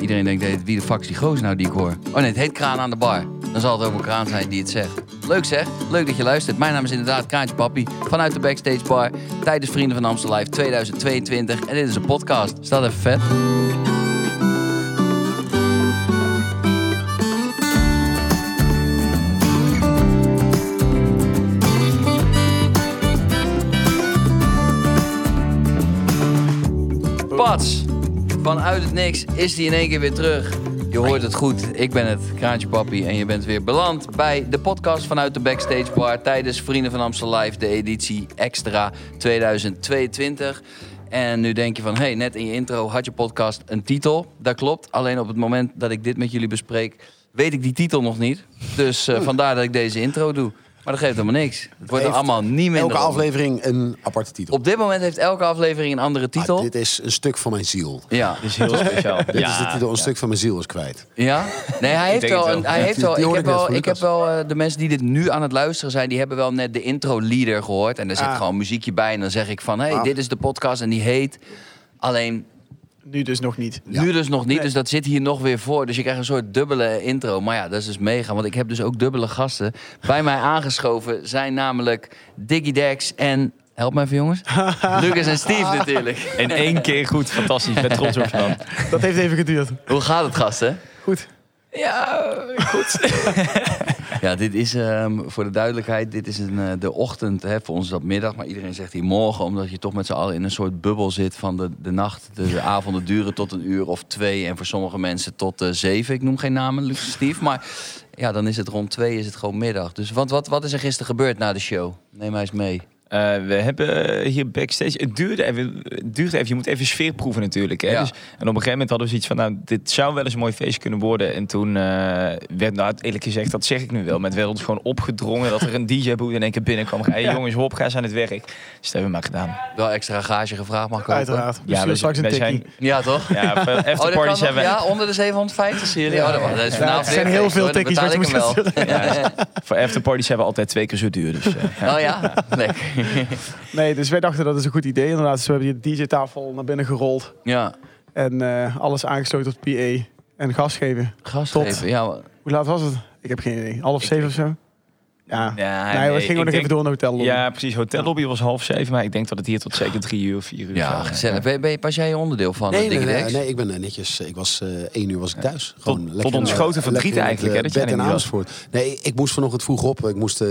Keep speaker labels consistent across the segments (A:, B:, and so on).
A: Iedereen denkt, hey, wie de fuck is die gozer nou die ik hoor? Oh nee, het heet Kraan aan de bar. Dan zal het ook een kraan zijn die het zegt. Leuk zeg, leuk dat je luistert. Mijn naam is inderdaad Kraantje Papi vanuit de Backstage Bar tijdens Vrienden van Amstel Live 2022. En dit is een podcast. Staat even vet. Pats, vanuit het niks is die in één keer weer terug. Je hoort het goed, ik ben het, Kraantje Papi. En je bent weer beland bij de podcast vanuit de Backstage Bar... tijdens Vrienden van Amstel Live, de editie Extra 2022. En nu denk je van, hey, net in je intro had je podcast een titel. Dat klopt, alleen op het moment dat ik dit met jullie bespreek... weet ik die titel nog niet. Dus eh, vandaar dat ik deze intro doe. Maar dat geeft helemaal niks. Het wordt er
B: Heeft
A: allemaal niet minder
B: Elke
A: om.
B: aflevering een aparte titel.
A: Op dit moment heeft elke aflevering een andere
B: Maar
A: titel.
B: Ah, dit is een stuk van mijn ziel.
A: Ja.
C: is heel speciaal.
B: Dit is de titel, een stuk van mijn ziel is kwijt.
A: Ja? Nee, hij heeft
C: denk het
A: wel.
C: wel.
A: Een, hij heeft
B: die-
A: wel
B: die
A: ik heb
B: hoorde ik net
A: wel,
B: van
A: ik heb
B: Lucas.
A: wel eh, de mensen die dit nu aan het luisteren zijn, die hebben wel net de intro leader gehoord. En daar zit
B: Ah.
A: gewoon muziekje bij. En dan zeg ik van, hé, hey,
B: Ah.
A: dit is de podcast en die heet. Alleen
D: Nu dus nog niet.
A: nu dus nog niet, dus dat zit hier nog weer voor. Dus je krijgt een soort dubbele intro. Maar ja, dat is dus mega, want ik heb dus ook dubbele gasten. Bij mij aangeschoven zijn namelijk Diggy Dex en... Help mij even jongens. Lucas en Steve natuurlijk.
C: In één keer goed, fantastisch. Ik ben trots op je man.
D: Dat heeft even geduurd.
A: Hoe gaat het gasten?
D: Goed.
A: Ja, goed. ja, dit is ehm, voor de duidelijkheid, dit is een, eh, de ochtend. Hè, voor ons is dat middag, maar iedereen zegt hier morgen. Omdat je toch met z'n allen in een soort bubbel zit van de, de nacht. De, de avonden duren tot een uur of twee. En voor sommige mensen tot eh, zeven. Ik noem geen namen, Luc en Steve. Maar ja, dan is het rond twee, is het gewoon middag. Dus wat, wat, wat is er gisteren gebeurd na de show? Neem mij eens mee.
C: Eh, we hebben hier backstage. Het duurde even. Het duurde even. Je moet even sfeer proeven natuurlijk. Hè?
A: Ja.
C: Dus, en op een gegeven moment hadden we zoiets van, nou, dit zou wel eens een mooi feestje kunnen worden. En toen eh, werd, nou, eerlijk gezegd, dat zeg ik nu wel. Met werd ons gewoon opgedrongen dat er een DJ-boot in één keer binnenkwam. Hé, jongens, hop, ga eens aan het werk. Dus dat hebben we maar gedaan.
A: Wel extra gage gevraagd mag komen.
D: Uiteraard. Ja,
C: Dus we-
D: dus straks een
C: wij
D: tikkie.
C: zijn-
A: Ja, toch?
C: Ja, veel
A: Oh, dat kan
C: afterparties
A: nog,
C: hebben.
A: ja, onder de 750 serie.
D: Ja.
A: Oh, dat, dat is
D: Ja,
A: vanavond
D: het zijn
A: weer
D: heel
A: feest,
D: veel
A: hoor. Dan
D: tikkies
A: betaal
D: wat je
A: ik hem
D: moet
A: wel.
C: Ja, voor afterparties hebben we altijd twee keer zo duur. Dus, eh, ja.
A: Oh ja, lekker.
D: Nee, dus wij dachten dat is een goed idee. Inderdaad, dus we hebben die DJ-tafel naar binnen gerold.
A: Ja,
D: En eh, alles aangesloten op PA. En gas geven.
A: gast
D: Tot.
A: geven. Ja, maar-
D: Hoe laat was het? Ik heb geen idee. Half
C: Ik-
D: zeven of zo? Ja.
C: Ja,
D: nee, we
C: nee,
D: gingen
C: ik
D: nog
C: denk-
D: even door naar hotel. lobby.
C: Ja, precies. Hotellobby was half zeven, maar ik denk dat het hier tot zeker drie uur, vier uur
A: ja
C: zou-
A: gezellig. Ben, ben, was jij je onderdeel van? de
B: nee,
A: Dikke
B: nee,
A: Dex?
B: nee, ik ben eh, netjes. Ik was eh één uur was ik thuis. Gewoon
C: tot
B: lekker,
C: ons
B: eh,
C: grote verdriet
B: lekker in het,
C: eigenlijk, hè,
B: eh,
C: dat jij
B: bed
C: er
B: in
C: niet was.
B: Amersfoort. Nee, ik moest vanochtend vroeg op. Ik moest eh,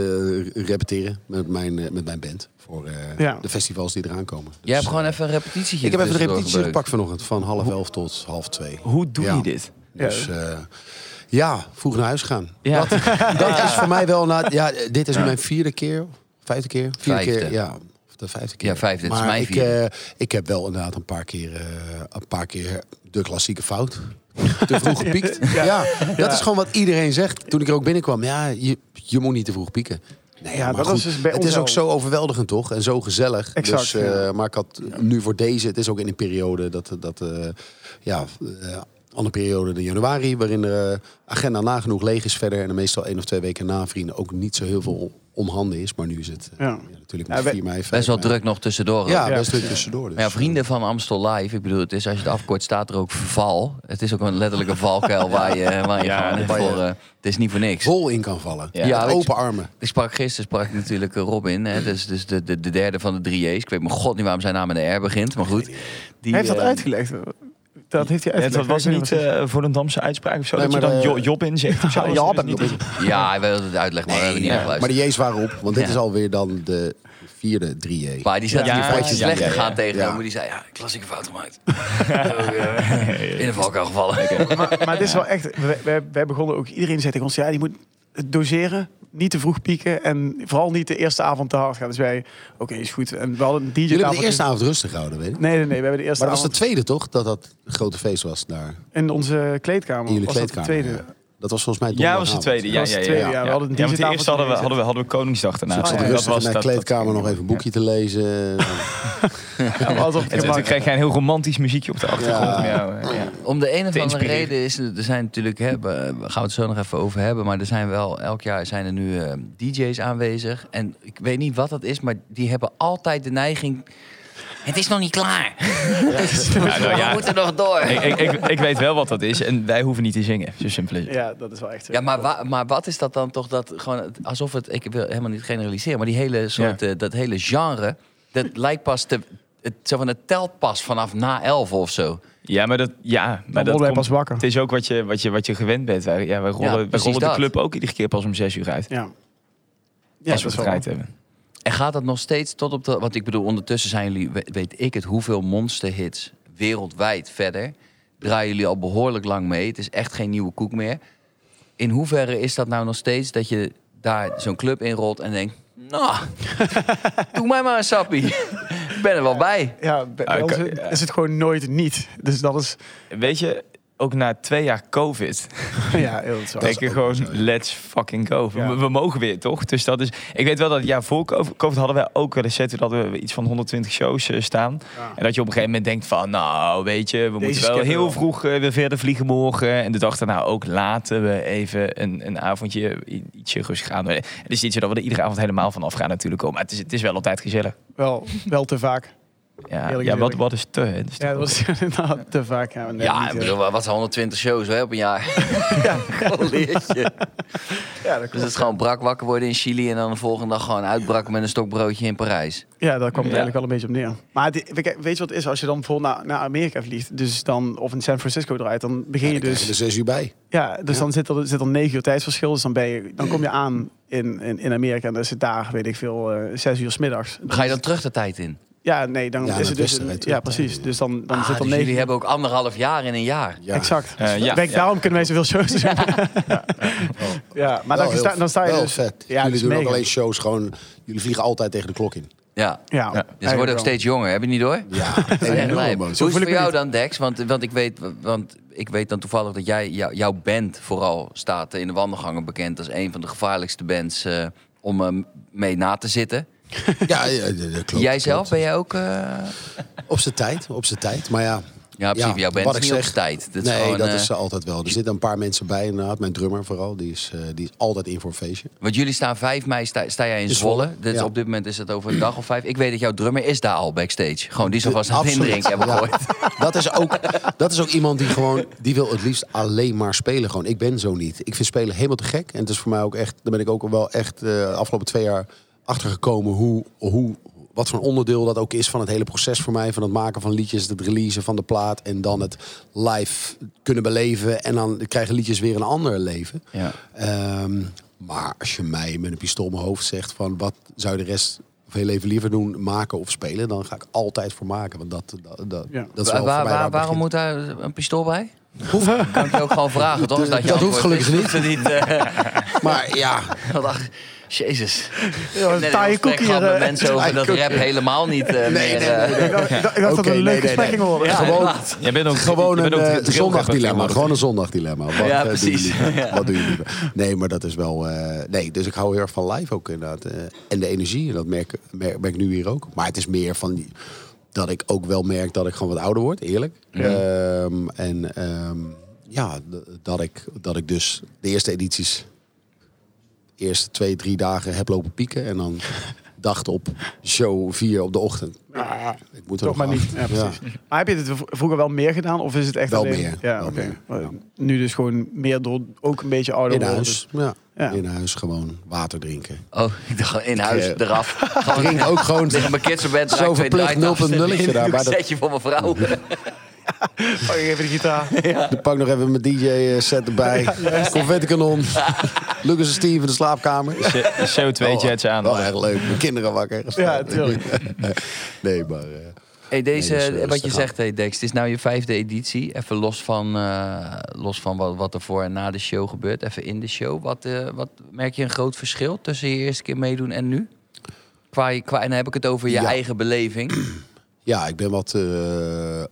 B: repeteren met mijn, eh, met mijn band voor eh,
D: Ja.
B: de festivals die eraan komen. Dus,
A: Jij hebt gewoon
B: eh,
A: even een repetitietje
B: ik heb even
C: Dus,
B: een
A: ertussendoor
B: repetitie
A: gebeukt.
B: gepakt vanochtend van half elf tot half twee.
C: eh, Hoe doe
B: Ja.
C: je dit?
D: Ja.
B: Dus eh, ja, vroeg naar huis gaan.
C: Ja.
B: Dat, dat is voor mij wel... Na, ja, dit is mijn vierde keer, vijfde keer? Vierde
A: Vijfde.
B: keer, ja. Of De vijfde keer.
A: Ja, vijfde, het is
B: Maar
A: mijn
B: ik,
A: vierde.
B: eh, ik heb wel inderdaad een paar keer, eh, een paar keer de klassieke fout. Te vroeg gepiekt. Ja, dat is gewoon wat iedereen zegt toen ik er ook binnenkwam. Ja, je, je moet niet te vroeg pieken. Nee,
D: Ja,
B: maar
D: dat
B: goed,
D: was dus bij
B: het
D: ons
B: is ook
D: al.
B: zo overweldigend, toch? En zo gezellig.
D: Exact,
B: dus, eh,
D: ja.
B: maar ik had nu voor deze, het is ook in een periode dat, dat eh, ja, eh, andere periode dan januari, waarin de agenda nagenoeg leeg is verder. En dan meestal één of twee weken na vrienden ook niet zo heel veel omhanden is. Maar nu is het eh,
D: Ja.
B: ja. natuurlijk met
D: Ja, we-
B: 4 mei. 5
A: Best wel
B: mei.
A: druk nog tussendoor.
B: Ja,
A: ook.
B: best druk tussendoor. Dus.
A: Maar ja, vrienden van Amstel Live, ik bedoel, het is als je het afkort staat er ook val. Het is ook een letterlijke valkuil waar je, waar je
C: Ja,
A: gewoon
B: waar je-
A: voor... eh, het is niet voor niks.
B: Vol in kan vallen.
C: Ja.
A: Ja,
B: Met
A: weet je-
B: open armen.
A: Ik sprak gisteren sprak ik natuurlijk eh, Robin, hè, dus, dus de, de, de derde van de drie J's. Ik weet mijn god niet waarom zijn naam met de R begint, maar goed. Die,
D: Hij heeft dat
A: eh,
D: uitgelegd. Dat heeft hij
C: Het
D: uitgelegd.
C: was
D: Ik weet
C: niet
D: wat het
C: eh, voor een Damse uitspraak of zo.
B: Nee,
C: dat je
B: maar,
C: dan
B: eh,
C: jo- Job in zegt. of zo.
D: Ja,
C: Dat was
D: Job
C: dus
D: en
C: niet-
D: Job.
A: Ja, hij wilde het uitleggen, maar we hebben niet
C: ja,
A: naar geluisterd.
B: Maar de J's waren op, want dit
A: Ja.
B: is alweer dan de vierde 3J.
A: Maar die zat
C: Ja,
A: hier
C: ja,
A: vijf keer
C: ja,
A: slecht
C: ja, ja.
A: gegaan tegen
B: Ja.
A: hem. maar Die zei, ja, klassieke fout gemaakt. Ook, eh, In de valkuil gevallen.
D: Maar, maar het is wel echt. Wij, wij, wij begonnen ook. Iedereen zei tegen ons: ja, je moet het doseren. Niet te vroeg pieken. En vooral niet de eerste avond te hard gaan. Dus wij. Oké, is goed. En we hadden een DJ.
B: Jullie hebben
D: -tafeltje.
B: de eerste avond rustig gehouden, weet ik.
D: Nee, nee, nee. We hebben de eerste
B: Maar dat was
D: avond.
B: de tweede toch, dat dat grote feest was daar
D: In onze kleedkamer.
B: in jullie
D: was
B: kleedkamer.
D: Dat de tweede.
B: ja. Dat was volgens mij
C: Ja, dat was de
B: donderdagavond.
C: tweede. Ja,
D: Dat was
C: ja,
D: de
C: ja,
D: tweede,
C: ja,
D: ja. We hadden een
C: Ja, want de
D: digitaal
C: eerste hadden we,
D: gezet.
C: hadden we, hadden we Koningsdag daarna.
B: Ik zat
D: Oh, ja.
B: rustig in mijn kleedkamer nog even een boekje te lezen.
D: Ja, we hadden
C: En
D: op het
C: toen
D: gemak.
C: kreeg jij een heel romantisch muziekje op de achtergrond.
B: Ja.
C: Ja. Ja, ja.
A: Om de een of andere
C: Te inspireren.
A: reden is, er zijn natuurlijk, hè, we we gaan we het zo nog even over hebben, maar er zijn wel, elk jaar zijn er nu eh, DJ's aanwezig. En ik weet niet wat dat is, maar die hebben altijd de neiging Het is nog niet klaar.
C: Ja, nou
A: We
C: ja,
A: moeten nog door.
C: ik, ik, ik, ik weet wel wat dat is en wij hoeven niet te zingen. Zo simpel is het.
D: Ja, dat is wel echt zo.
A: Ja, maar, wa- maar wat is dat dan toch dat gewoon het- alsof het ik wil helemaal niet generaliseren, maar die hele soort eh, dat hele genre dat lijkt pas te het, zo van het telt pas vanaf na 11 of zo.
C: Ja, maar dat, ja, maar
D: worden
C: dat
D: wij pas wakker.
C: Het is ook wat je, wat je, wat je gewend bent. Wij, ja, wij rollen, wij
A: precies
C: rollen de
A: dat.
C: club ook iedere keer pas om zes uur uit.
D: Ja. Ja,
C: als
D: dat
C: we
D: is
C: het
D: wel
C: gedraaid hebben.
A: En gaat dat nog steeds tot op de want ik bedoel ondertussen zijn jullie we- weet ik het hoeveel monsterhits wereldwijd verder draaien jullie al behoorlijk lang mee. Het is echt geen nieuwe koek meer. In hoeverre is dat nou nog steeds dat je daar zo'n club in rolt en denkt nou, doe mij maar een sappie. Ik ben er wel bij.
D: Ja, bij,
C: Ah,
D: bij ons
C: kan-
D: is- is het gewoon nooit niet. Dus dat is...
C: Weet je, ook na twee jaar COVID
D: Ja, heel zo.
C: denk je gewoon, let's fucking go. We-
D: Ja.
C: We, mogen weer, toch? Dus dat is... Ik weet wel dat, ja, voor COVID COVID hadden wij ook wel eens zetten dat we iets van 120 shows eh, staan.
D: Ja.
C: En dat je op een gegeven moment denkt van, nou, weet je, we moeten wel
D: skippen
C: heel
D: wel.
C: vroeg eh, weer verder vliegen morgen. En de dag daarna ook laten we even een, een avondje i- ietsje rustig aan. Het is niet zo dat we er iedere avond helemaal van afgaan natuurlijk. ook. Maar het is, het is wel altijd gezellig.
D: Wel, wel te vaak.
C: Ja,
D: Eerlijk
C: ja wat,
D: eerlijk.
C: wat is te? hè? Dus Dat is toch
D: Ja,
C: ook-
D: dat was inderdaad te vaak. Ja, nee,
A: Ja,
D: niet,
A: ik
D: eh.
A: bedoel, wat zijn 120 shows hè, op een jaar? Ja, Colleertje.
D: ja, dat
A: Dus
D: klopt.
A: het is gewoon brak wakker worden in Chili en dan de volgende dag gewoon uitbrakken met een stokbroodje in Parijs.
D: Ja, daar kwam het
C: Ja.
D: eigenlijk wel een beetje op neer. Maar dit- we- kijk, weet je wat het is? Als je dan bijvoorbeeld naar, naar Amerika vliegt, dus dan, of in San Francisco draait, dan begin je
B: Dus er
D: dus...
B: zes uur bij.
D: Ja, dus dan zit er, zit er negen uur tijdsverschil. Dus dan, ben je, dan kom je aan in, in, in Amerika en dan is het daar, weet ik veel, eh, zes uur 's middags.
A: Ga je dan terug de tijd in?
D: Ja, nee, dan
B: Ja, naar
D: is
B: het
D: het dus...
B: westen, hè,
D: ja,
B: terug.
D: precies. Dus dan, dan
A: Ah,
D: zit er
A: dus
D: negen
A: jullie hebben ook anderhalf jaar in een jaar.
B: Ja.
D: Exact.
C: Eh, ja,
D: Kijk,
C: ja.
D: daarom kunnen wij zoveel shows doen. Ja, maar
B: Wel
D: dan,
B: heel
D: sta, dan sta je
B: wel
D: dus...
B: vet.
D: Ja,
B: jullie
D: dus
B: doen ook
D: mega.
B: alleen shows gewoon... Jullie vliegen altijd tegen de klok in.
A: Ja.
D: Ja,
A: Dus ze worden ook steeds jonger, heb je niet door?
B: Ja,
A: Ja,
B: enorm,
A: lijp.
B: man.
A: Hoe is
D: voel
A: het
D: ik
A: voor
D: me
A: jou
D: niet.
A: dan, Dex? Want, want, ik weet, want ik weet dan toevallig dat jij, jou- jouw band vooral staat eh, in de wandelgangen bekend als een van de gevaarlijkste bands eh, om eh, mee na te zitten.
B: Ja, ja, dat klopt.
A: jij
B: klopt.
A: zelf, ben jij ook... eh,
B: Op zijn tijd, op zijn tijd. Maar ja...
A: Ja, precies. Jouw band
B: wat
A: is
B: ik
A: niet op
B: zeg,
A: z'n tijd. Dat is
B: nee,
A: gewoon,
B: dat
A: eh,
B: is eh, altijd wel. Er zitten een paar mensen bij inderdaad. Mijn drummer vooral, die is, eh, die is altijd in voor een feestje.
A: Want jullie staan 5 mei, sta, sta jij in
B: In
A: Zwolle.
B: Zwolle,
A: Dit, is
B: ja.
A: Op dit moment is het over een dag of vijf. Ik weet dat jouw drummer is daar al backstage. Gewoon, die is alvast aan het
B: Absoluut.
A: indrinken, hebben we
B: Ja.
A: gehoord.
B: Dat is, ook, dat is ook iemand die gewoon, die wil het liefst alleen maar spelen. Gewoon. Ik ben zo niet. Ik vind spelen helemaal te gek. En het is voor mij ook echt, daar ben ik ook wel echt eh, de afgelopen twee jaar achtergekomen hoe, hoe, wat voor een onderdeel dat ook is van het hele proces voor mij. Van het maken van liedjes, het releasen van de plaat en dan het live kunnen beleven. En dan krijgen liedjes weer een ander leven.
A: Ja.
B: Ehm, maar als je mij met een pistool op mijn hoofd zegt van wat zou je de rest van je leven liever doen, maken of spelen, dan ga ik altijd voor maken. Want dat, dat, dat,
D: Ja.
B: dat is
A: Waar-
B: wel
A: waar-
B: voor mij waar het
A: waarom
B: begint.
A: moet daar een pistool bij? Kan ik je ook gewoon vragen, toch? Als je
B: Dat hoeft
A: antwoord
B: gelukkig
A: weet, hoeft het niet.
B: Maar ja,
A: eh, want ach, Jezus.
D: Ja, een
A: Net een heel
D: taaie
A: gesprek
D: koekie
A: gehad met
D: hier, eh,
A: mensen over dat rap helemaal niet eh, meer... eh,
D: Ik dacht, ik dacht dat
B: Oké,
D: het een
B: nee,
D: leuke
B: nee,
D: gesprek ging
B: nee.
D: worden.
A: Ja,
B: gewoon-
A: inderdaad.
C: Jij bent ook,
B: gewoon
C: je
B: een
C: bent
B: eh,
C: ook drill-rapper
B: zondagdilemma.
C: tegenwoordig.
B: Gewoon een zondagdilemma. Wat, eh, doen
A: precies.
B: jullie? Wat doen jullie? Nee, maar dat is wel... eh, nee, dus ik hou heel erg van live ook inderdaad. eh, en de energie, dat merk, merk, merk ik nu hier ook. Maar het is meer van... die- dat ik ook wel merk dat ik gewoon wat ouder word, eerlijk. Ehm, en ehm, ja, d- dat ik, dat ik dus de eerste edities... de eerste twee, drie dagen heb lopen pieken. En dan dacht op show vier op de ochtend.
D: Ja,
B: Ik moet er
D: toch maar
B: nog
D: niet.
B: af.
D: Ja, precies. Maar heb je dit v- vroeger wel meer gedaan? Of is het echt
B: Wel
D: alleen...
B: meer,
D: Ja,
B: wel
D: oké.
B: meer,
D: Maar
B: ja.
D: Nu dus gewoon meer door ook een beetje ouder
B: In
D: worden.
B: huis, ja.
D: Ja.
B: In huis gewoon water drinken.
A: Oh, ik dacht in huis,
B: Ja.
A: eraf. Gewoon
B: Drink ook gewoon
A: liggen mijn kids op bed,
B: eh, zo
A: draai ik twee
B: verplicht
A: draaitafels
B: 0.0
A: in.
B: daar. Maar dat,
A: Setje voor mijn vrouw.
D: Dus- Pak ik even de gitaar.
B: dan pak ik nog even mijn DJ-set erbij. Confetti kanon. Lucas en Steve in de slaapkamer. Oh,
C: CO2-jets aan.
B: Wel erg leuk. Mijn kinderen wakker.
D: Ja, tuurlijk.
B: Nee, maar... eh,
A: Hey, deze,
B: Nee, dus, eh,
A: wat je
B: rustig aan.
A: zegt, hey Dex, het is nou je vijfde editie. Even los van, eh, los van wat, wat er voor en na de show gebeurt, even in de show. Wat, eh, wat merk je een groot verschil tussen je eerste keer meedoen en nu? Qua, je- qua, en dan heb ik het over je
B: Ja.
A: eigen beleving.
B: Ja, ik ben wat, eh,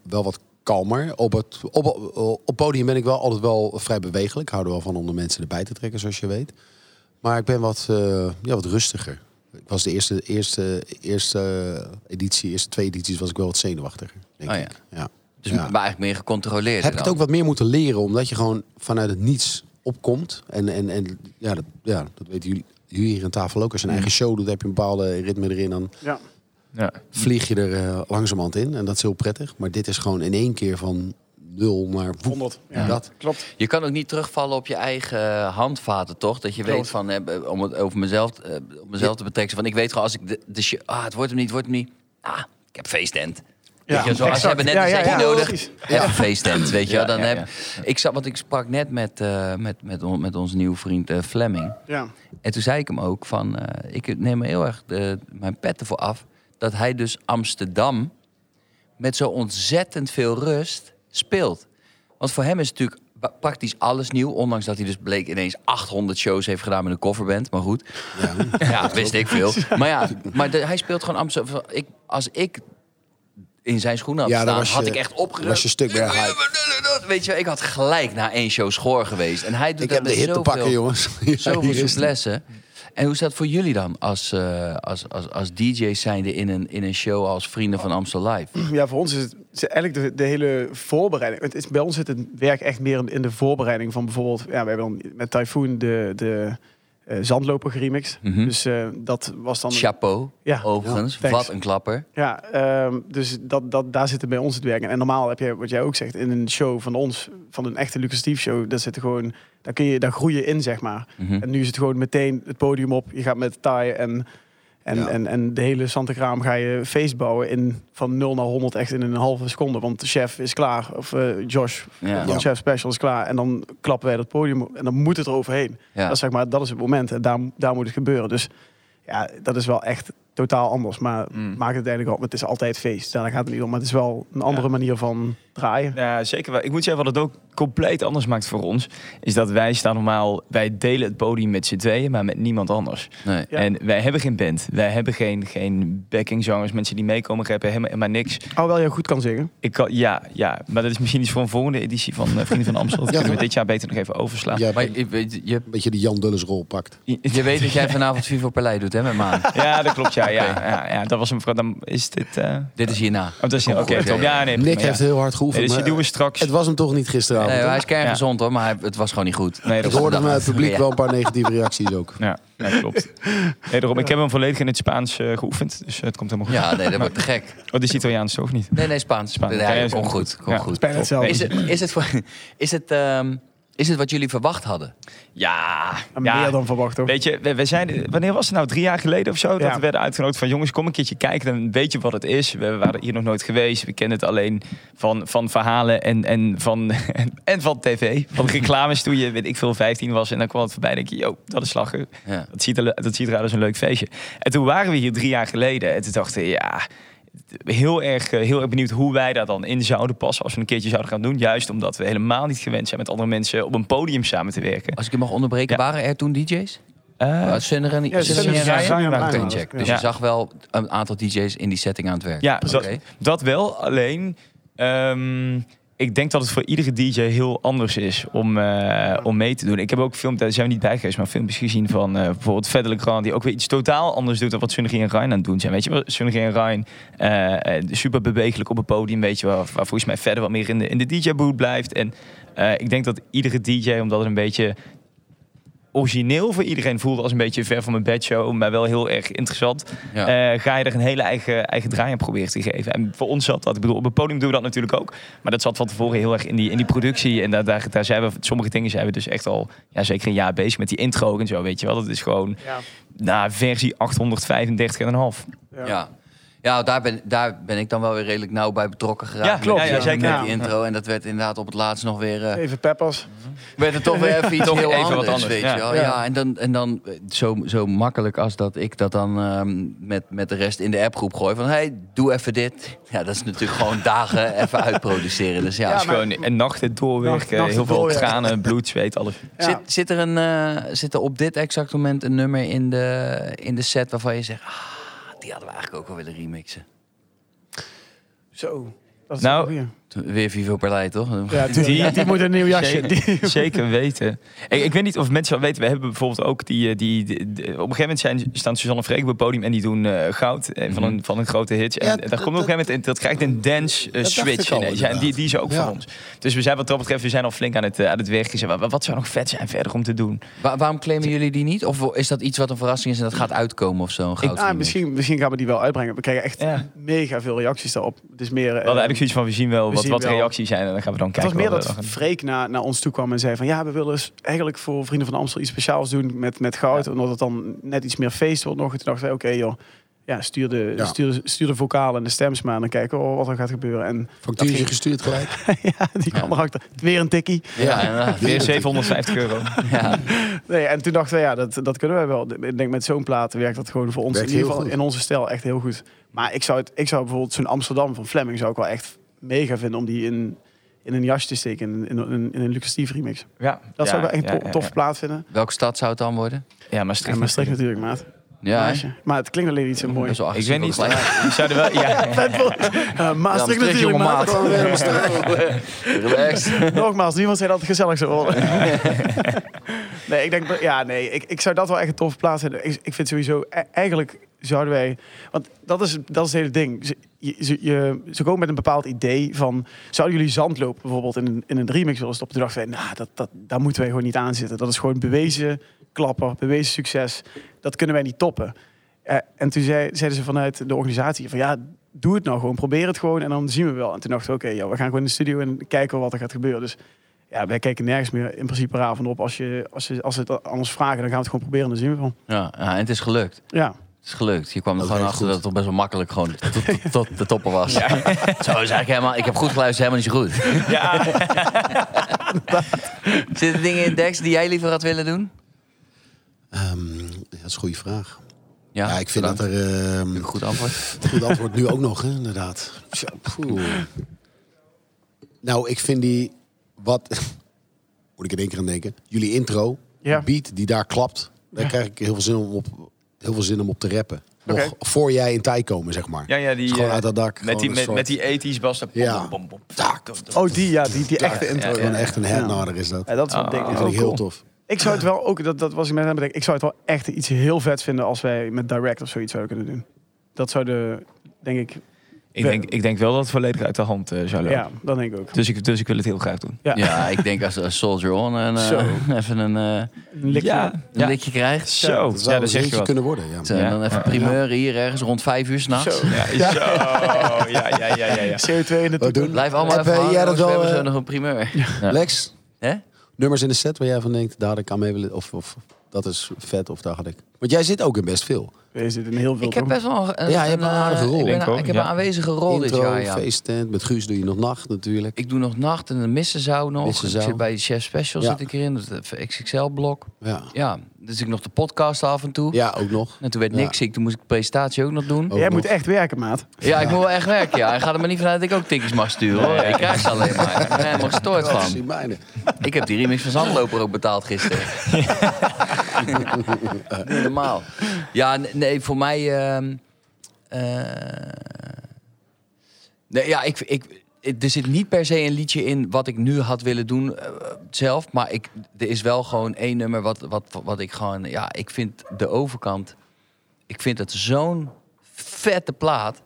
B: wel wat kalmer. Op het op, op, op podium ben ik wel altijd wel vrij bewegelijk. Ik hou er wel van om de mensen erbij te trekken, zoals je weet. Maar ik ben wat, eh, ja, wat rustiger. Ik was de eerste, eerste, eerste editie, eerste twee edities was ik wel wat zenuwachtiger, denk
A: Oh ja.
B: ik. Ja.
A: Dus
B: Ja.
A: maar eigenlijk meer gecontroleerd.
B: Heb ik het ook wat meer moeten leren, omdat je gewoon vanuit het niets opkomt. En, en, en ja,
A: Mm.
B: dat, ja, dat weten jullie, jullie hier aan tafel ook. Als je een eigen show doet, heb je een bepaalde ritme erin. Dan
D: Ja.
C: Ja.
B: vlieg je er eh, langzamerhand in. En dat is heel prettig. Maar dit is gewoon in één keer van nul naar woep.
D: 100. Ja.
B: Dat.
D: Klopt.
A: Je kan ook niet terugvallen op je eigen eh, handvaten, toch? Dat je
D: Klopt.
A: weet van, eh, om het over mezelf, eh, om mezelf te betrekken. Van, ik weet gewoon als ik de, de shi- ah, het wordt hem niet, het wordt hem niet. Ah, ik heb feestend. weet je, zo, als
D: exact.
A: ze hebben net
D: Ja,
A: een
D: ja,
A: setje
D: ja,
A: nodig,
D: precies.
A: heb een feesttent, weet je wel.
C: Ja,
A: Dan
C: ja,
A: heb,
C: ja,
A: Ik zat, want ik sprak net met, eh, met, met, on- met onze nieuwe vriend eh, Fleming.
D: Ja.
A: En toen zei ik hem ook van, eh, ik neem me heel erg eh, mijn pet ervoor af... dat hij dus Amsterdam met zo ontzettend veel rust speelt. Want voor hem is natuurlijk ba- praktisch alles nieuw. Ondanks dat hij dus bleek ineens 800 shows heeft gedaan met een coverband. Maar goed, ja, wist ik veel. Maar ja, maar de- hij speelt gewoon Amsterdam. Ik, als ik in zijn schoenen had
B: Ja, dan
A: staan,
B: was je-
A: had ik echt opgeruimd.
B: was je stuk meer
A: Weet je, wel, ik had gelijk na één show schoor geweest. En hij doet
B: Ik
A: dat
B: heb de
A: met
B: hit te
A: zoveel-
B: pakken, jongens. Ja,
A: Zoveel
B: hier is die.
A: souplesse. En hoe is dat voor jullie dan als, eh, als, als, als DJ's zijnde in een, in een show als Vrienden van Amstel Live?
D: Ja, voor ons is het is eigenlijk de, de hele voorbereiding. Het is, bij ons zit het werk echt meer in, in de voorbereiding van bijvoorbeeld... Ja, we hebben dan met Typhoon de, de eh, zandloper geremixed.
A: Mhm.
D: Dus eh, dat was dan...
A: Chapeau,
D: Ja.
A: overigens.
D: Ja, thanks.
A: Wat een klapper.
D: Ja, ehm, dus dat, dat, daar zitten bij ons het werk. in. En normaal heb je, wat jij ook zegt, in een show van ons, van een echte lucratief show, daar zitten gewoon, daar kun je, daar groei je in, zeg maar.
A: Mhm.
D: En nu is het gewoon meteen het podium op, je gaat met Thai en, en,
B: Ja.
D: en, en de hele Santegraam ga je feest bouwen in van 0 naar 100 echt in een halve seconde. Want de chef is klaar, of eh, Josh
A: Ja.
D: van
B: Ja.
D: Chef Special is klaar. En dan klappen wij dat podium op en dan moet het er overheen.
A: Ja.
D: Dat, is zeg maar, dat is het moment en daar, daar moet het gebeuren. Dus ja, dat is wel echt totaal anders. Maar
C: Mm.
D: maakt het eigenlijk al, het is altijd feest. Daar gaat het niet om, maar het is wel een andere
C: Ja.
D: manier van draaien.
C: Ja, zeker wel. Ik moet zeggen, wat het ook compleet anders maakt voor ons, is dat wij staan normaal, wij delen het podium met z'n tweeën, maar met niemand anders.
A: Nee.
D: Ja.
C: En wij hebben geen band, wij hebben geen, geen backingzangers, mensen die meekomen rappen, helemaal, maar niks.
D: Alhoewel je goed kan zingen.
C: Ik kan, ja, ja, maar dat is misschien iets voor een volgende editie van eh, Vrienden van Amstel. Dat
B: Ja.
C: kunnen we dit jaar beter nog even overslaan.
B: Jij hebt
A: Maar
B: een
A: je, weet- je,
B: beetje die Jan Dulles rol pakt.
A: je weet dat jij vanavond Vivo Palais doet, hè, met Maan?
C: Ja, dat klopt, ja. ja, ja, ja. Dat was een vrouw, dan is dit... eh,
A: Dit is hierna.
C: Oh, dat is
A: Komt
C: Oké,
A: goed,
C: top.
A: ja.
C: Ja, nee,
B: Nick
C: prima, ja.
B: heeft heel eh, hard
C: Nee,
B: geoefend.
C: dus die
B: maar
C: doen we straks.
B: Het was hem toch niet gisteravond.
A: Nee,
B: hè?
A: hij is
C: Ja.
A: kerngezond, hoor, maar hij- het was gewoon niet goed.
C: Nee,
B: Ik
C: dat
B: hoorde hem uit het publiek
A: Ja.
B: wel een paar negatieve reacties ook.
C: Ja, ja, klopt. Nee, daarom, ik heb hem volledig in het Spaans eh, geoefend, dus eh, het komt helemaal goed.
A: Ja, nee, dat wordt te gek.
C: Oh, dit is Italiaans toch niet?
A: Nee, nee, Spaans.
C: Spaans.
A: Nee,
C: Ja,
A: kom
C: ja,
A: goed, kom
C: ja.
A: goed.
D: Bijna hetzelfde.
A: Is het, is, het, voor- is, het, ehm, is het wat jullie verwacht hadden?
C: Ja,
D: En
C: ja.
D: Meer dan verwacht hoor.
C: Weet je, we, we zijn, wanneer was het nou? Drie jaar geleden of zo? Dat
D: Ja.
C: we werden uitgenodigd van jongens, kom een keertje kijken. Dan weet je wat het is. We waren hier nog nooit geweest. We kennen het alleen van, van verhalen en, en, van, en van tv. Van reclames toen je, weet ik veel, 15 was. En dan kwam het voorbij en denk je, yo, dat is lachen.
A: Ja.
C: Dat ziet, er, le- dat ziet eruit als een leuk feestje. En toen waren we hier drie jaar geleden. En toen dachten we, ja, heel erg, eh, heel erg benieuwd hoe wij daar dan in zouden passen. Als we een keertje zouden gaan doen. Juist omdat we helemaal niet gewend zijn met andere mensen op een podium samen te werken.
A: Als ik je mag onderbreken,
C: Ja.
A: waren er toen DJ's?
C: Eh,
A: Uh, Sunner en
D: Ja,
A: Sunner
D: Sunner
A: en
D: en
A: Ryan?
D: Ryan waren
A: Oké,
D: er.
A: check.
D: Ja.
A: Dus je
C: Ja.
A: zag wel een aantal DJ's in die setting aan het werk.
C: Ja,
A: Oké.
C: dat, dat wel. Alleen, ehm, ik denk dat het voor iedere DJ heel anders is om, eh, om mee te doen. Ik heb ook film, daar zijn we niet bij geweest, maar filmpjes gezien van eh, bijvoorbeeld Fedde Legrand, die ook weer iets totaal anders doet dan wat Sunnegie en Ryan aan het doen zijn. Weet je wel, Sunnegie en Ryan, eh, eh, super bewegelijk op het podium, weet je wel, waar volgens mij verder wat meer in de, in de DJ-boot blijft. En eh, ik denk dat iedere DJ, omdat het een beetje origineel voor iedereen voelde als een beetje ver van mijn bedshow, maar wel heel erg interessant.
A: Ja.
C: Eh, ga je er een hele eigen, eigen draai aan proberen te geven. En voor ons zat dat, ik bedoel, op het podium doen we dat natuurlijk ook. Maar dat zat van tevoren heel erg in die, in die productie. En daar, daar, daar zijn we, sommige dingen zijn we dus echt al ja, zeker een jaar bezig met die intro ook en zo, weet je wel. Dat is gewoon
D: Ja.
C: na versie 835,5.
A: Ja. ja. daar ben, daar ben ik dan wel weer redelijk nauw bij betrokken geraakt.
C: Ja,
A: met
C: klopt.
A: die-
C: Ja, ja, zeker.
A: Met die intro. En dat werd inderdaad op het laatst nog weer... eh,
D: Even peppers.
A: werd het toch weer even iets
C: Toch
A: heel
C: even wat
A: anders,
C: anders,
A: weet
C: ja.
A: je wel. Ja.
D: Ja.
A: en dan, en dan eh, zo, zo makkelijk als dat ik dat dan ehm, met, met de rest in de appgroep gooi. Van, hey, doe even dit. Ja, dat is natuurlijk gewoon dagen even uitproduceren. Dus ja,
D: Ja,
C: Dus
D: maar-
C: gewoon en nachten
D: Nacht-
C: doorwerken,
D: nachten
C: heel veel
D: doorwerken.
C: tranen, bloed, zweet, alles.
D: Ja.
A: Zit, zit, er een, eh, zit er op dit exact moment een nummer in de, in de set waarvan je zegt... Ah, die hadden we eigenlijk ook wel willen remixen.
D: Zo. Dat is
C: Nou,
D: een goeie.
A: Weer Vivo Parley, toch?
D: Ja, die,
C: Die-
D: die, moet een nieuw jasje. Die-
C: Zeker, zeker weten. Ik, ik weet niet of mensen dat weten. We hebben bijvoorbeeld ook die... eh, die, die- die- op een gegeven moment zijn, staan Suzanne Freek op het podium... en die doen eh, goud eh, van, een, van een grote hit. En
B: Mhm. Ja,
C: daar
B: dat-
C: komt op een gegeven moment... in- dat krijgt een dance eh,
B: dacht
C: switch
B: ik al,
C: ineens. Ja, en die,
B: inderdaad.
C: die is ook
B: Ja.
C: van ons. Dus we zijn wat dat betreft... we zijn al flink aan het, eh, aan het werk. gezet. Wat, wat zou nog vet zijn verder om te doen?
A: Wa- waarom claimen jullie die niet? Of is dat iets wat een verrassing is en dat gaat uitkomen of zo? Een goud
D: Ah,
A: remix?
D: misschien, misschien gaan we die wel uitbrengen. We krijgen echt
C: Ja.
D: mega veel reacties daarop. Het is meer.
C: We hadden eigenlijk zoiets van... we zien wel
D: we
C: wat,
D: zien
C: wat
D: wel.
C: reacties zijn... en dan gaan we dan
D: Het
C: kijken. eh,
D: was meer
C: wat we
D: dat
C: dan gaan
D: Freek naar, naar ons toe kwam en zei van... ja, we willen eens eigenlijk voor Vrienden van Amstel iets speciaals doen met, met goud. Omdat het dan net iets meer feest wordt nog. En toen dachten wij, oké joh, ja, stuur, de,
B: Ja.
D: Stuur, stuur de vocalen en de stems maar. En dan kijken we wat er gaat gebeuren. En
B: Factuurtje
D: ging-
B: gestuurd gelijk.
D: ja, die kwam erachter. Weer een tikkie.
A: Ja, inderdaad.
C: doen. Ah, Weer 750 euro.
A: ja.
D: Nee, en toen dachten we, ja, dat, dat kunnen wij wel. Ik denk met zo'n plaat werkt dat gewoon voor ons
B: Werkt
D: in ieder
B: heel
D: geval
B: goed.
D: in onze stijl echt heel goed. Maar ik zou, het, ik zou bijvoorbeeld zo'n Amsterdam van Fleming zou ik wel echt mega vinden om die in, in een jasje te steken in, in, in, in een Lucas Steve remix.
C: Ja,
D: Dat zou
C: ja,
D: ik wel echt
C: ja,
D: tof
C: ja,
D: tof
C: ja.
D: plaat vinden.
A: Welke stad zou het dan worden?
C: Ja, maar strikt.
D: En Maastricht natuurlijk, maat.
A: Ja, hè?
D: Meisje. Maar het klinkt alleen iets zo mooi.
A: Dat is wel
C: Ik
A: agressief
C: weet
A: ook
C: niet.
A: gelijk.
C: Je zou er wel... Ja,
D: Eh, Maastricht
A: Ja, Maastricht, jonge
D: natuurlijk, maat.
A: maat. Relax.
D: Nogmaals, niemand zei dat het gezellig zou worden. nee, ik denk, ja, nee, ik, ik zou dat wel echt een toffe plaats hebben. Ik, ik vind sowieso, e- eigenlijk zouden wij, want dat is, dat is het hele ding. Ze, je- ze, je- ze komen met een bepaald idee van, zouden jullie zandlopen bijvoorbeeld in, een- in een remix willen stoppen? Toen dachten wij, nou, dat, dat, daar moeten wij gewoon niet aan zitten. Dat is gewoon bewezen klapper, bewezen succes. Dat kunnen wij niet toppen. Eh, en toen zei, zeiden ze vanuit de organisatie van ja, doe het nou gewoon, probeer het gewoon en dan zien we wel. En toen dachten we, oké, ja, we gaan gewoon in de studio en kijken wat er gaat gebeuren. Dus ja, wij kijken nergens meer in principe raar van op. Als, je, als, je, als ze het anders vragen, dan gaan we het gewoon proberen en dan zien we wel.
A: Ja, ja, en het is gelukt.
D: Ja.
A: Het is gelukt. Je kwam er
B: Dat
A: gewoon
B: werkt
A: achter
B: goed.
A: dat het toch best wel makkelijk gewoon tot, tot- tot de topper was. Zo is eigenlijk helemaal... Ik heb goed geluisterd, helemaal niet zo goed.
C: ja.
A: Zitten dingen in Dex die jij liever had willen doen?
B: Ehm, ja, dat is een goede vraag.
A: Ja,
B: Ja, ik vind
A: bedankt.
B: dat er... ehm,
A: Goed antwoord.
B: Goed antwoord nu ook nog, hè, inderdaad. Tja, poeh. nou, ik vind die... Wat... Moet ik in één keer aan denken. Jullie intro,
D: Ja.
B: die beat die daar klapt. Daar krijg ik heel veel zin om op, heel veel zin om op te rappen. Nog
D: Oké.
B: voor jij in tijd komen, zeg maar.
C: Ja, ja, die,
B: Is gewoon
C: eh,
B: uit dat dak.
C: Met die,
B: gewoon
C: met,
B: een
C: met
B: soort-
C: die ethisch bas. dat-
B: Ja.
C: bom, bom, bom,
B: Tak.
C: bom, bom.
D: Oh, die, ja, die, die echte intro.
B: Gewoon echt een headnader is dat.
D: Ja, dat is wat
C: Ah,
D: ding.
B: Dat
D: is
B: vind
D: ook
B: ik heel
D: cool.
B: tof.
D: Ik zou het wel ook, dat, dat was ik net aan het bedenken, ik zou het wel echt iets heel vet vinden als wij met direct of zoiets zouden kunnen doen. Dat zou de, denk ik,
C: Ik, denk, ik denk wel dat het volledig uit de hand eh, zou lopen.
D: ja, dat denk ik ook.
C: Dus, ik, dus ik wil het heel graag doen.
D: Ja,
A: Ja, ik denk als, als Soldier On en, eh,
D: Zo.
A: even een, eh,
D: een likje.
C: ja.
A: een likje krijgt.
C: Zo,
B: Dat zou
C: ja,
B: een
C: dat zeg je
B: zingetje
C: wat.
B: kunnen worden, ja.
A: En
C: Ja.
A: dan even
C: Ja.
A: primeuren hier ergens rond vijf uur s'nachts.
D: Zo.
C: Ja, ja. Zo, ja, ja, ja, ja. ja.
D: CO2 in de
B: Wat
D: toekomst.
B: doen?
A: Blijf allemaal
B: Heb,
A: even
B: eh,
A: hangen,
B: jij dat
A: anders we
B: wel,
A: hebben zo
B: eh,
A: nog een primeur. Ja.
B: Lex,
A: Hè?
B: nummers in de set waar jij van denkt, daar ik aan mee willen... Of, of dat is vet, of daar had ik... Want jij zit ook in best veel.
D: We zitten in heel veel.
A: Ik heb
D: toch?
A: best wel een,
B: Ja, je hebt een
A: eh,
B: aardige rol.
A: Ik, ben
C: Denk
A: een-
C: ook,
A: ik heb
C: ja.
A: een aanwezige rol
B: Intro,
A: dit jaar. Ja.
B: feesttent. Met Guus doe je nog nacht natuurlijk.
A: Ik doe nog nacht en de missen zou nog.
B: Missen
A: ik
B: zou.
A: zit bij de Chef Special
B: Ja.
A: zit ik erin, dat is de XXL-blok.
B: Ja.
A: Ja, dus ik nog de podcast af en toe.
B: ja, ook nog.
A: En toen werd
B: Ja. Oh.
A: niks ziek, toen moest ik de presentatie ook nog doen.
B: Ook
D: Jij
B: nog.
D: moet echt werken, maat.
A: Ja, ik moet wel echt werken, ja. En ga er maar niet vanuit dat ik ook tikjes mag sturen, hoor.
C: Nee.
A: Ik krijg ze alleen maar. Ik ben er helemaal gestoord
B: Dat is
A: van.
B: die mijne.
A: Ik heb die remix van Zandloper ook betaald gisteren. Niet normaal. Ja, n- nee, voor mij... ehm, eh, nee, ja, ik, ik, ik- er zit niet per se een liedje in wat ik nu had willen doen eh, zelf. Maar ik, er is wel gewoon één nummer wat, wat, wat ik gewoon... Ja, ik vind de overkant... Ik vind het zo'n vette plaat.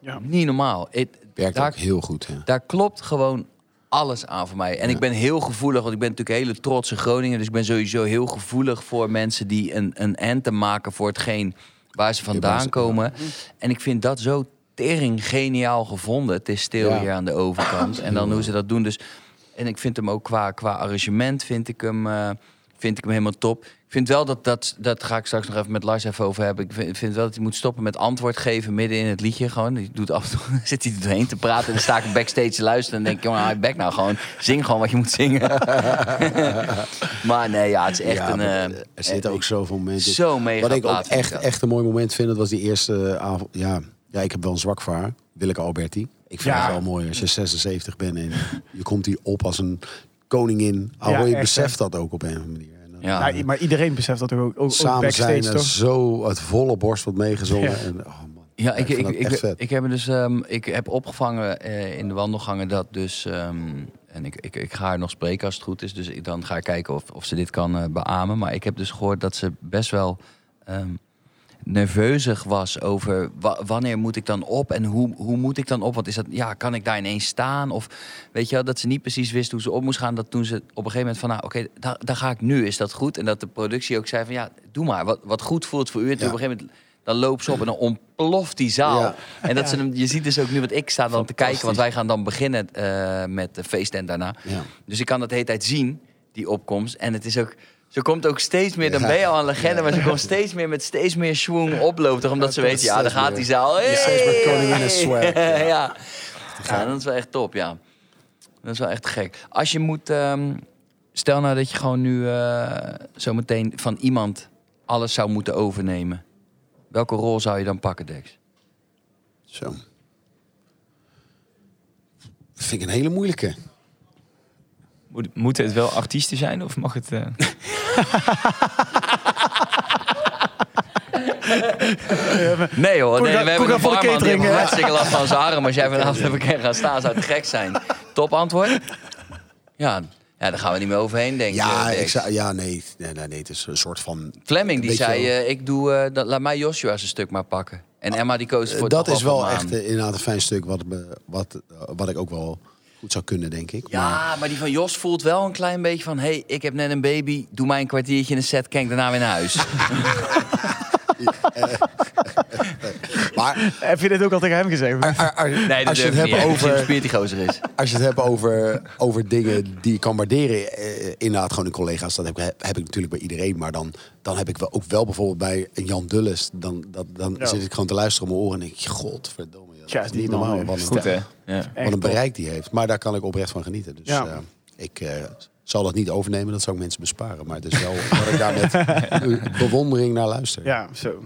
D: Ja.
A: Niet normaal. Het-
B: Werkt
A: daar-
B: ook heel goed. Ja.
A: daar klopt gewoon alles aan voor mij. En ik ben heel gevoelig, want ik ben natuurlijk een hele trotse Groninger. Dus ik ben sowieso heel gevoelig voor mensen die een, een anthem maken voor hetgeen waar ze vandaan komen. En ik vind dat zo tering geniaal gevonden. Het is stil
B: Ja. Ah,
A: hier aan de overkant. En dan hoe ze dat doen. Dus, en ik vind hem ook qua, qua arrangement vind ik hem, eh, vind ik hem helemaal top. Ik vind wel dat, dat, dat ga ik straks nog even met Lars even over hebben. Ik vind, vind wel dat hij moet stoppen met antwoord geven midden in het liedje. Gewoon, die doet af en toe, zit hij er doorheen te praten. En dan sta ik backstage te luisteren en denk ik, jongen, hou je bek nou gewoon. Zing gewoon wat je moet zingen. maar nee, ja, het is echt
B: Ja,
A: een...
B: maar
A: eh,
B: er zitten ook zoveel momenten.
A: zo mega
B: Wat ik ook
A: plaat vind ik
B: echt,
A: dat.
B: echt een mooi moment vind, dat was die eerste eh, avond. Ja, ja ik heb wel een zwak voor haar. Willeke Alberti. Ik vind
D: Ja.
B: het wel mooi als je 76 bent en je komt hier op als een koningin. Al
D: Ja,
B: je
D: echt,
B: beseft dat ook op een of andere manier. En dan
A: Ja.
D: Ja, maar iedereen beseft dat ook, ook, ook
B: Samen
D: backstage,
B: zijn en
D: toch?
B: zo het volle borst wordt meegezongen.
D: Ja.
B: En, oh man.
A: Ja, ik,
B: ik
A: ik,
B: vind dat
A: ik,
B: echt
A: ik,
B: vet.
A: heb, er dus, ehm, ik heb opgevangen eh, in de wandelgangen dat dus... ehm, en ik, ik, ik ga haar nog spreken als het goed is. Dus ik- dan ga ik kijken of, of ze dit kan eh, beamen. Maar ik heb dus gehoord dat ze best wel ehm nerveuzig was over... wa- wanneer moet ik dan op en hoe, hoe moet ik dan op? Want is dat, ja, kan ik daar ineens staan? Of weet je wel, dat ze niet precies wist hoe ze op moest gaan. Dat toen ze op een gegeven moment van... Nou, oké, daar, daar ga ik nu. Is dat goed? En dat de productie ook zei van... Ja, doe maar. Wat, wat goed voelt voor u. En toen op
B: Ja.
A: een gegeven moment... Dan loopt ze op en dan ontploft die zaal.
B: Ja.
A: En dat ze hem, je ziet dus ook nu, want ik sta dan te kijken, want wij gaan dan beginnen eh, met de feestend daarna.
B: Ja.
A: Dus ik kan dat de hele tijd zien, die opkomst. En het is ook, ze komt ook steeds meer, dan ben je al een legende, maar ze komt steeds meer met steeds meer schwung oplopen. Toch? Omdat ze weet, ja, daar
B: steeds
A: gaat
B: meer.
A: die zaal.
B: Je steeds meer
A: Hey!
B: koninginnen swag,
A: Ja. Ja. dat is wel echt top, ja. Dat is wel echt gek. Als je moet, ehm, stel nou dat je gewoon nu eh, zometeen van iemand alles zou moeten overnemen. Welke rol zou je dan pakken, Dex?
B: Zo. Vind ik een hele moeilijke.
C: Moet, moeten het wel artiesten zijn of mag het... eh,
A: Nee hoor, nee,
D: Koeka-
A: we hebben
D: Koeka
A: een
D: voor
A: barman
D: de
A: die
D: catering,
A: heeft
D: hè?
A: hartstikke last van zijn arm. Als jij vanavond even kan gaan staan, zou het gek zijn. Top antwoord? Ja, ja daar gaan we niet meer overheen denken.
B: Ja,
A: eh, Dex.
B: ik zou, ja nee, nee, nee, nee, het is een soort van...
A: Fleming die
B: Weet je
A: zei,
B: wel.
A: eh, ik doe, eh, dat, laat mij Joshua zijn stuk maar pakken. En Emma die koos voor
B: eh, dat
A: toch
B: is wel
A: van
B: echt
A: Maan.
B: eh, inderdaad een fijn stuk wat, me- wat, eh, wat ik ook wel goed zou kunnen, denk ik. Maar
A: Ja, maar die van Jos voelt wel een klein beetje van... hé, hey, ik heb net een baby, doe mij een kwartiertje in een set... kijk daarna weer naar huis.
B: maar
D: Heb je dit ook al tegen hem gezegd?
B: ar- ar- ar- als, je het
A: durf ik
B: hebt
A: niet. Ik zie hoe
B: over,
A: spierd die gozer is.
B: als je het hebt over, over dingen die je kan waarderen, eh, inderdaad gewoon in collega's, dat heb, ik- heb ik natuurlijk bij iedereen. Maar dan, dan heb ik wel, ook wel bijvoorbeeld bij een Jan Dulles, dan, dat, dan
D: Ja.
B: zit ik gewoon te luisteren om mijn oren en denk ik, godverdomme, joh, dat
D: Ja,
B: is
D: die
B: niet
D: man
B: normaal.
D: heeft
B: Wat een-
C: Goed, hè? Ja.
B: wat
D: Echt
B: een
D: top.
B: bereik die heeft. Maar daar kan ik oprecht van genieten. Dus
D: Ja.
B: eh, ik eh, zal dat niet overnemen. Dat zou ik mensen besparen. Maar het is wel dat ik daar met eh, bewondering naar luister.
D: Ja, zo.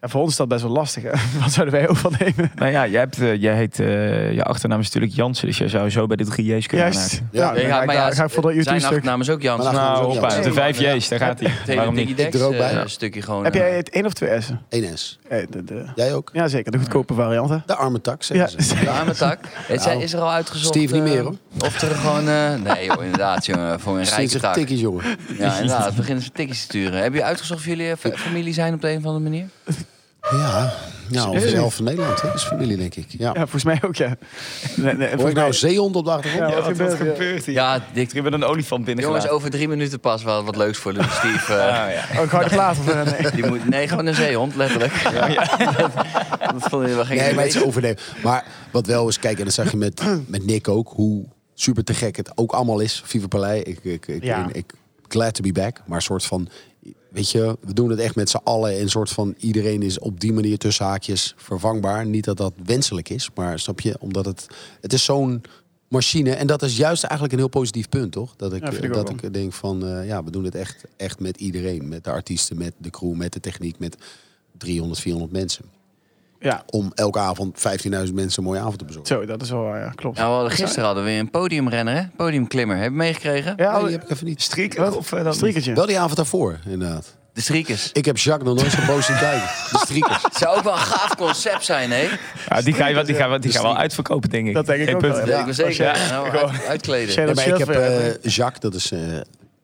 D: En voor ons is dat best wel lastig. Hè? Wat zouden wij overnemen?
C: Nou ja, jij, hebt, eh, jij heet, eh, je achternaam is natuurlijk Jansen, dus jij zou zo bij de drie J's kunnen
D: Juist.
C: raken.
B: Ja,
D: Ja, dan ga ik, daar- ga ik voor dat
A: zijn
D: YouTube-stuk.
A: achternaam is ook Jans.
B: Maar nou,
C: Nou,
B: dat is ook
C: hoppa,
B: Jansen.
C: de vijf J's, daar
A: Het
C: gaat hij.
A: hele
C: Waarom niet?
A: Digidex
B: Ik er ook
A: eh,
B: bij.
A: stukje gewoon.
D: Heb
A: eh,
D: jij het één of twee S'en?
B: 1S.
D: Eh, de- de-
B: Jij ook?
D: Ja, zeker. De goedkope variant, hè?
B: De arme tak, zeggen
D: Ja,
B: ze.
A: de arme tak. Het zijn- is er al uitgezocht.
B: Nou, Steve niet
A: eh,
B: meer, hoor.
A: Of er gewoon. eh, nee, joh, inderdaad, jongen. Voor een
B: Sinds
A: rijke
B: zich
A: tak.
B: tikkies, jongen.
A: Ja, inderdaad. Beginnen ze tikjes te sturen. Heb je uitgezocht of jullie eh, fa- familie zijn op de een of andere manier?
B: Ja, nou, ongeveer
D: Serieus?
B: de helft van Nederland. Hè? Dat is familie, denk ik. Ja.
D: ja, volgens mij ook, ja. Nee,
B: Hoor
D: nee, volgens
B: ik nou
D: mij-
B: een zeehond op de achtergrond?
D: Ja,
C: Ja,
D: wat
C: wat,
D: gebeurt hier?
C: gebeurt hier?
A: Ja, dik.
C: Ik heb een olifant
A: Jongens,
C: binnengelaten.
A: over drie minuten pas wel wat leuks voor Luc Steve. eh.
C: Ah, ja.
D: Oh, ik hou de plaat op. eh, nee.
A: die moet, nee, gewoon een zeehond, letterlijk. dat vond je wel gek.
B: Nee, maar het is overnemen. Maar wat wel is, kijk, en dat zag je met, met Nick ook, hoe super te gek het ook allemaal is. Viva Palais, ik, ik, ik,
D: Ja.
B: en ik, glad to be back. Maar een soort van, weet je, we doen het echt met z'n allen. En een soort van, iedereen is op die manier tussen haakjes vervangbaar. Niet dat dat wenselijk is, maar snap je, omdat het, het is zo'n machine. En dat is juist eigenlijk een heel positief punt, toch? Dat ik,
D: Ja, vind ik ook
B: dat ik denk van, eh, ja, we doen het echt, echt met iedereen. Met de artiesten, met de crew, met de techniek, met 300, 400 mensen
D: Ja,
B: om elke avond 15.000 mensen een mooie avond te bezorgen.
D: zo, dat is wel waar, ja. Klopt.
A: Nou, we hadden- gisteren hadden we weer een podiumrenner, hè? Podiumklimmer. Heb je meegekregen?
D: Ja,
B: Nee,
D: oh,
B: die heb ik even niet.
C: Strieker of eh, dan
D: striekertje.
B: Wel die avond daarvoor, inderdaad.
A: De Striekers.
B: Ik heb Jacques nog nooit zo boos zien kijken. De striekers.
A: Het zou ook wel een gaaf concept zijn, hè?
C: Ja, die ga je, wel- die ga, je wel- die ga je wel
B: Strieker.
C: uitverkopen, denk ik.
D: Dus Dat denk ik
C: Geen
D: ook
C: punt.
D: wel,
A: Ja,
D: Ja,
A: ik ben zeker.
C: als je-
A: Nou,
C: gewoon-
A: uit- uitkleden.
D: Shit.
B: Ja, maar ik heb
D: Zelf, ja.
B: eh, Jacques, dat is, eh,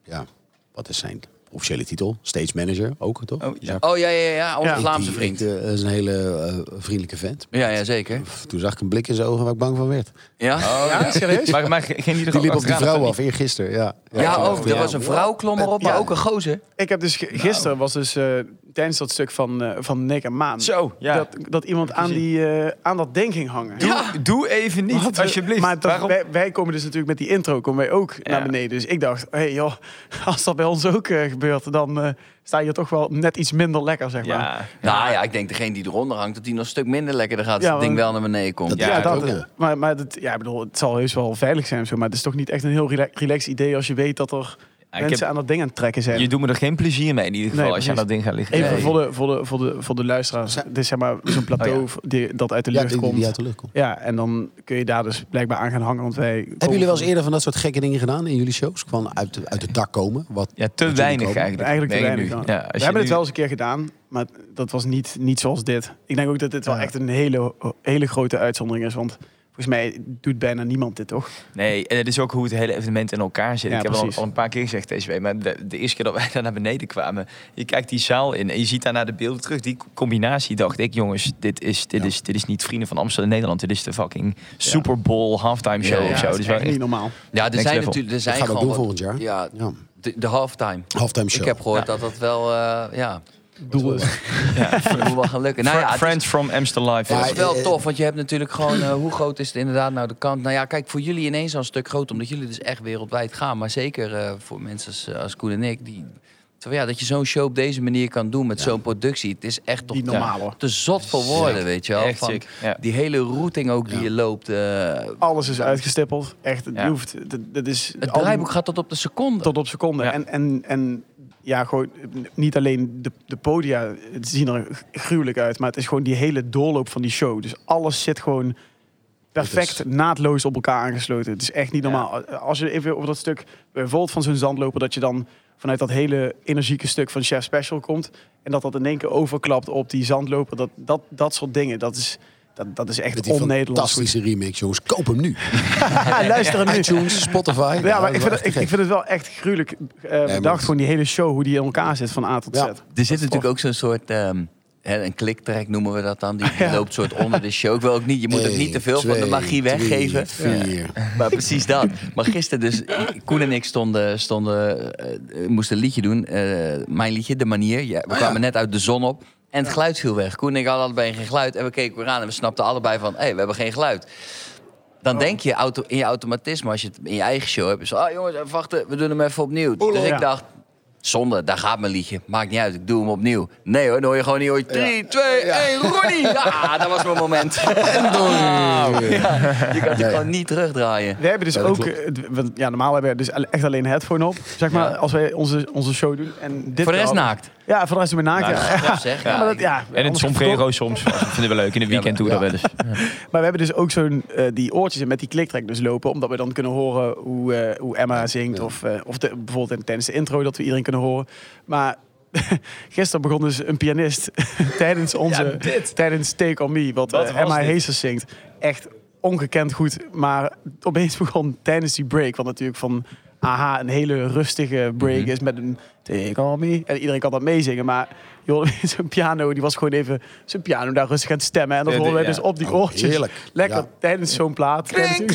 B: ja, wat is zijn officiële titel? Stage manager, ook toch?
C: Oh, ja.
A: Oh ja, ja, ja, onze
D: Ja.
A: Vlaamse
B: Die-
A: vriend.
B: ik, eh, Dat is een hele eh, vriendelijke vent.
A: Ja, ja, zeker.
B: Pff, Toen zag ik een blik in zijn ogen waar ik bang van werd.
A: Ja,
D: Ja, serieus?
C: Maar, maar ging die er
B: Die
C: ook
B: liep op die
C: achteraan,
D: oh,
C: of
B: vrouw
C: niet?
B: af, eergisteren. Ja,
A: ja ook. Er
B: Ja.
A: was een vrouw klom erop, maar
D: Ja.
A: ook een gozer.
D: Ik heb dus ge- gisteren was dus eh, tijdens dat stuk van, eh, van Nick en Maan.
C: Zo, ja.
D: Dat, dat iemand aan, die, eh, aan dat ding ging hangen.
C: Doe, doe even niet,
D: Wat?
C: alsjeblieft.
D: Maar dat-
C: Waarom?
D: wij, wij komen dus natuurlijk met die intro komen wij ook naar beneden. Dus ik dacht, hé hey joh, als dat bij ons ook eh, gebeurt, dan eh, sta je toch wel net iets minder lekker, zeg maar.
C: Ja.
A: Nou ja, ik denk degene die eronder hangt, dat die nog een stuk minder lekkerder gaat. Als
D: Ja,
A: het ding
D: want-
A: wel naar beneden komt.
C: Ja,
D: Ja,
C: dat
D: dat,
B: ook, ja.
D: Maar, maar dat, ja, ik bedoel, het zal heus wel veilig zijn, of zo, maar het is toch niet echt een heel rela- relaxed idee als je weet dat er
C: ik
D: mensen
C: heb-
D: aan dat ding aan het trekken zijn.
C: Je doet me er geen plezier mee in ieder geval
D: Nee,
C: als je aan dat ding gaat liggen.
D: Even
C: Nee.
D: voor, de, voor, de, voor, de, voor de luisteraars.
B: Zijn- Oh,
D: Dit is zeg maar zo'n plateau die, dat uit de
B: Ja,
D: lucht
B: die, die
D: komt.
B: uit de lucht komt.
D: Ja, en dan kun je daar dus blijkbaar aan gaan hangen. Want wij
B: Hebben jullie wel eens eerder van dat soort gekke dingen gedaan in jullie shows? Gewoon uit, de- uit het dak komen? Wat,
C: Ja, te
B: jullie
C: weinig
B: komen.
C: eigenlijk.
D: Eigenlijk te
C: denk ik
D: weinig,
C: nu.
D: ja.
C: als
D: We
C: je
D: hebben
C: nu-
D: het wel eens een keer gedaan, maar dat was niet, niet zoals dit. Ik denk ook dat dit wel
B: Ja.
D: echt een hele, hele grote uitzondering is. Want volgens mij doet bijna niemand dit, toch?
C: Nee, en het is ook hoe het hele evenement in elkaar zit.
D: Ja,
C: ik heb al,
D: precies.
C: al een paar keer gezegd deze week, maar de, de eerste keer dat wij daar naar beneden kwamen, je kijkt die zaal in en je ziet daar naar de beelden terug. Die combinatie dacht ik, jongens, dit is, dit
B: Ja.
C: is, dit is niet Vrienden van Amsterdam Nederland, dit is de fucking Super Bowl halftime show
A: Ja,
C: of
A: ja,
C: zo.
D: dat
C: Dus
D: is
C: wel
D: echt niet
C: echt-
D: normaal.
A: Ja, er
C: Next
A: zijn
C: level.
A: natuurlijk er
B: Dat
A: zijn
B: gaan we ook
A: gewoon
B: doen
A: wat-
B: volgend
A: Ja,
B: jaar. Ja.
A: de, de halftime.
B: Halftime show.
A: Ik heb gehoord dat dat wel, eh ja,
D: Doel is.
A: wel gaan lukken. Nou
C: Fr-
A: ja, het is-
C: Friends from Amsterdam Live.
A: Dat
B: Ja,
C: was
A: is
C: het.
B: eh,
A: wel
B: eh,
A: tof, want je hebt natuurlijk gewoon... eh, hoe groot is het inderdaad nou de kant? Nou ja, kijk, voor jullie ineens al een stuk groot... omdat jullie dus echt wereldwijd gaan. Maar zeker eh, voor mensen als, als Koen en ik... Die, terwijl ja, dat je zo'n show op deze manier kan doen met zo'n productie... het is echt toch
D: Niet normaal, hoor.
A: te zot voor woorden, weet je wel.
C: Echt
A: van
C: sick, ja.
A: Die hele routing ook die
B: Ja.
A: je loopt. eh,
D: Alles is uitgestippeld. Echt, het
C: Ja.
D: hoeft. Dat, dat is
A: het
D: al die-
A: draaiboek gaat tot op de seconde.
D: tot op seconde.
C: Ja.
D: En, en, en ja, gewoon niet alleen de, de podia het zien er gruwelijk uit, maar het is gewoon die hele doorloop van die show. Dus alles zit gewoon perfect,
B: Het
D: naadloos op elkaar aangesloten. Het is echt niet normaal. Als je even over dat stuk bijvoorbeeld van zo'n zandloper, dat je dan vanuit dat hele energieke stuk van Chef Special komt en dat dat in één keer overklapt op die zandloper, dat, dat, dat soort dingen, dat is, dat, dat is
B: Met
D: echt
B: die
D: on-Nederlands.
B: fantastische remix, jongens. Koop hem nu.
D: Ja, luister hem nu.
B: iTunes, Spotify.
D: Ja, maar ik
B: dat
D: vind,
B: is
D: het, ik, ik vind het wel echt gruwelijk eh,
B: maar-
D: bedacht. Gewoon die hele show, hoe die in elkaar zit van A tot Z.
B: Ja.
A: Er zit natuurlijk ook zo'n soort. ehm, hè, een kliktrek noemen we dat dan. Die, die
D: Ja.
A: loopt soort onder de show. Ik wil ook niet, je moet ook niet te veel van de magie weggeven. Maar precies dat. Maar gisteren dus, Koen en ik stonden, stonden eh, moesten een liedje doen. Eh, mijn liedje, De Manier. Ja, we
B: ja.
A: kwamen net uit de zon op. En het geluid viel weg. Koen en ik hadden allebei geen geluid. En we keken weer aan en we snapten allebei van... hé, hey, we hebben geen geluid. Dan denk je auto, in je automatisme, als je het in je eigen show hebt... is van, ah jongens, even wachten, we doen hem even opnieuw. dus
D: ja.
A: ik dacht, zonde, daar gaat mijn liedje. Maakt niet uit, ik doe hem opnieuw. Nee hoor, dan hoor je gewoon niet... Hoor je, drie, twee, één, Ronnie! Ja, dat was mijn moment. Oh, Ja, je kan het
B: Nee.
A: gewoon niet terugdraaien.
D: Wij hebben dus
B: Ja, dat
D: ook,
B: klopt.
D: eh, d- want ja, normaal hebben we dus al- echt alleen een headphone op. Zeg maar,
A: Ja.
D: als wij onze, onze show doen. En dit
A: Voor de rest
D: wel.
A: naakt.
D: Ja, voor de rest zijn we naakt.
C: Nou,
D: ja.
A: Ja, zeg.
D: Ja, maar, dat, ja,
C: En het
D: anders-
C: sombrero soms. Dat vinden we leuk. In het weekend doen we dat wel eens.
D: Maar we hebben dus ook zo'n, eh, die oortjes in met die kliktrek dus lopen. Omdat we dan kunnen horen hoe, eh, hoe Emma zingt. Of, eh, of de, bijvoorbeeld in- tijdens de intro dat we iedereen kunnen horen. Maar gisteren begon dus een pianist tijdens onze... tijdens Take On Me. Wat,
C: Wat
D: eh,
C: was
D: Emma
C: dit?
D: Heesters zingt. Echt ongekend goed. Maar opeens begon tijdens die break. Wat natuurlijk van... Aha, een hele rustige break
C: Mhm.
D: is met een Take On Me. En iedereen kan dat meezingen. Maar je hoorde opeens een piano. Die was gewoon even zijn piano daar rustig aan het stemmen. En dat
C: Ja,
D: horen wij
C: ja.
D: dus op die
B: Oh,
D: oortjes.
B: heerlijk.
D: Lekker
B: Ja.
D: tijdens zo'n plaat. Tijdens-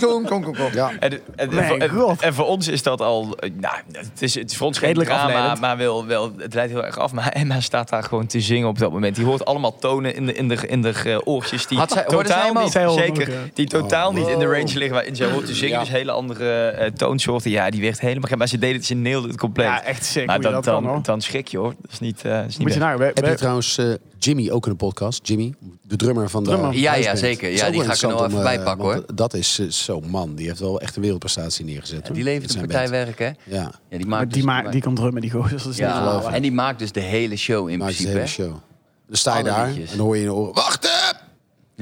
B: Ja.
C: En, en- en,
D: Mijn
C: voor- en-
D: god.
C: en voor ons is dat al... eh, Nou, het, is, het is voor ons geen
D: Redelijk
C: drama,
D: afleidend.
C: maar wel, wel, het leidt heel erg af. Maar Emma staat daar gewoon te zingen op dat moment. Die hoort allemaal tonen in de, in de, in de eh, oortjes die
A: Had zij- hoorde zij
C: totaal
A: hem ook?
C: niet,
D: Zij hoorde hem
C: zeker,
D: ook, ja.
C: die totaal
B: Oh,
C: niet in de
B: wow.
C: range liggen waarin zij hoort te zingen.
B: Ja.
C: Dus hele andere eh, toonsoorten. Ja, die werd helemaal... gek. Maar ze deed het, ze neelde het compleet.
D: Ja, echt sick
C: maar
D: hoe je
C: dan,
D: dat
C: dan,
D: kan, hoor.
C: dan schrik je hoor. Dat is niet, eh, is niet
D: Moet je
C: best.
D: naar. wij-
B: Heb je
D: wij-
B: trouwens eh, Jimmy ook in de podcast? Jimmy, de drummer van de
D: Drummer.
A: Ja, ja,
B: huisband.
A: zeker.
B: Is
A: Ja,
B: ook
A: die
B: wel
A: ga ik er nog
B: interessant
A: even
B: om,
A: bij
B: eh,
A: pakken,
B: want Dat is eh, zo'n man. Die heeft wel echt een wereldprestatie neergezet. hoor,
A: Die
B: met
A: levert de
B: zijn
A: partij
B: band.
A: werk, hè?
B: Ja,
A: Ja, die
D: Maar
A: maakt
D: die,
A: dus-
D: maar, die komt drummen, die gozer. Dus dat is niet
A: ja,
D: normaal, hè.
A: en die maakt dus de hele show in
B: maakt de
A: principe.
B: hele
A: hè?
B: show. Dan sta je
A: Alle
B: daar
A: liedjes.
B: en dan hoor je in de oren... Wacht even!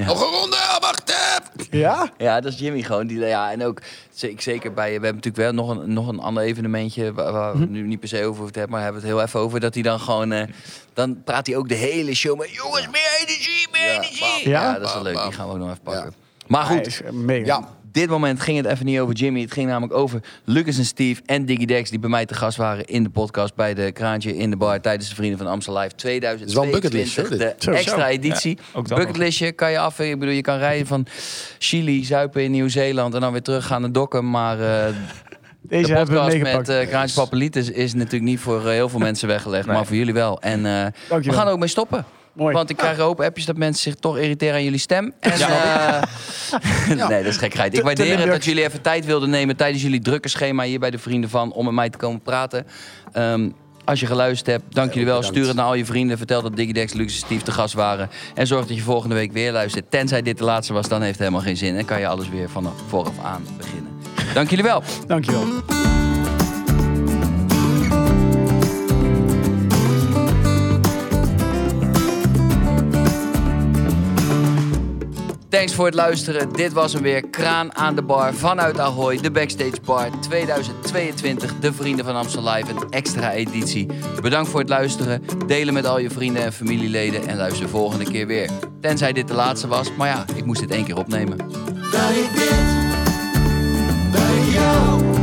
B: Nog een ronde, wacht even!
D: Ja?
A: Ja, dat is Jimmy gewoon. Die, ja, en ook ze- zeker bij. We hebben natuurlijk wel nog een, nog een ander evenementje. Waar, waar
D: Hm.
A: we het nu niet per se over hoeven te hebben. Maar hebben we het heel even over. Dat hij dan gewoon. eh, dan praat hij ook de hele show met. Jongens, meer energie, meer
B: Ja,
A: energie. Ja,
D: bam,
A: dat is wel
B: bam,
A: leuk. Die
B: bam.
A: gaan we ook nog even pakken.
D: Ah,
A: Maar goed,
D: hij is mega.
B: Ja,
A: dit moment ging het even niet over Jimmy. Het ging namelijk over Lucas en Steve en Digidex... die bij mij te gast waren in de podcast bij de kraantje in de bar... tijdens de Vrienden van Amstel Live 2022.
B: bucketlist, hoor, dit.
A: de
D: Sowieso.
A: extra editie.
C: Ja, ook dat
A: Bucketlistje kan je af. eh, Ik bedoel, je kan rijden van Chili, zuipen in Nieuw-Zeeland... en dan weer terug gaan naar Dokken. Maar eh,
D: Deze
A: de
D: hebben we
A: podcast
D: meegepakt.
A: met eh Kraantje Papelitis is natuurlijk niet voor eh, heel veel mensen weggelegd...
C: Nee.
A: maar voor jullie wel. En eh, we
D: Dankjewel.
A: gaan er ook mee stoppen.
D: Mooi.
A: Want ik krijg een hoop appjes dat mensen zich toch irriteren aan jullie stem. En, eh, nee, dat is gekheid. Ik
D: Te- te
A: waardeer het dat
D: Limburgs.
A: jullie even tijd wilden nemen tijdens jullie drukke schema hier bij de Vrienden van om met mij te komen praten. Ehm, als je geluisterd hebt, dank jullie wel.
B: bedankt.
A: Stuur het naar al je vrienden. Vertel dat Digidex, Lux en Steve te gast waren. En zorg dat je volgende week weer luistert. Tenzij dit de laatste was, dan heeft het helemaal geen zin. En kan je alles weer vanaf vooraf aan beginnen. Dank jullie wel.
D: Dankjewel.
A: Thanks voor het luisteren. Dit was hem weer. Kraan aan de bar vanuit Ahoy. De Backstage Bar 2022. De Vrienden van Amstel Live. Een extra editie. Bedankt voor het luisteren. Delen met al je vrienden en familieleden. En luister volgende keer weer. Tenzij dit de laatste was. Maar ja, ik moest dit één keer opnemen.
E: dat ik dit bij jou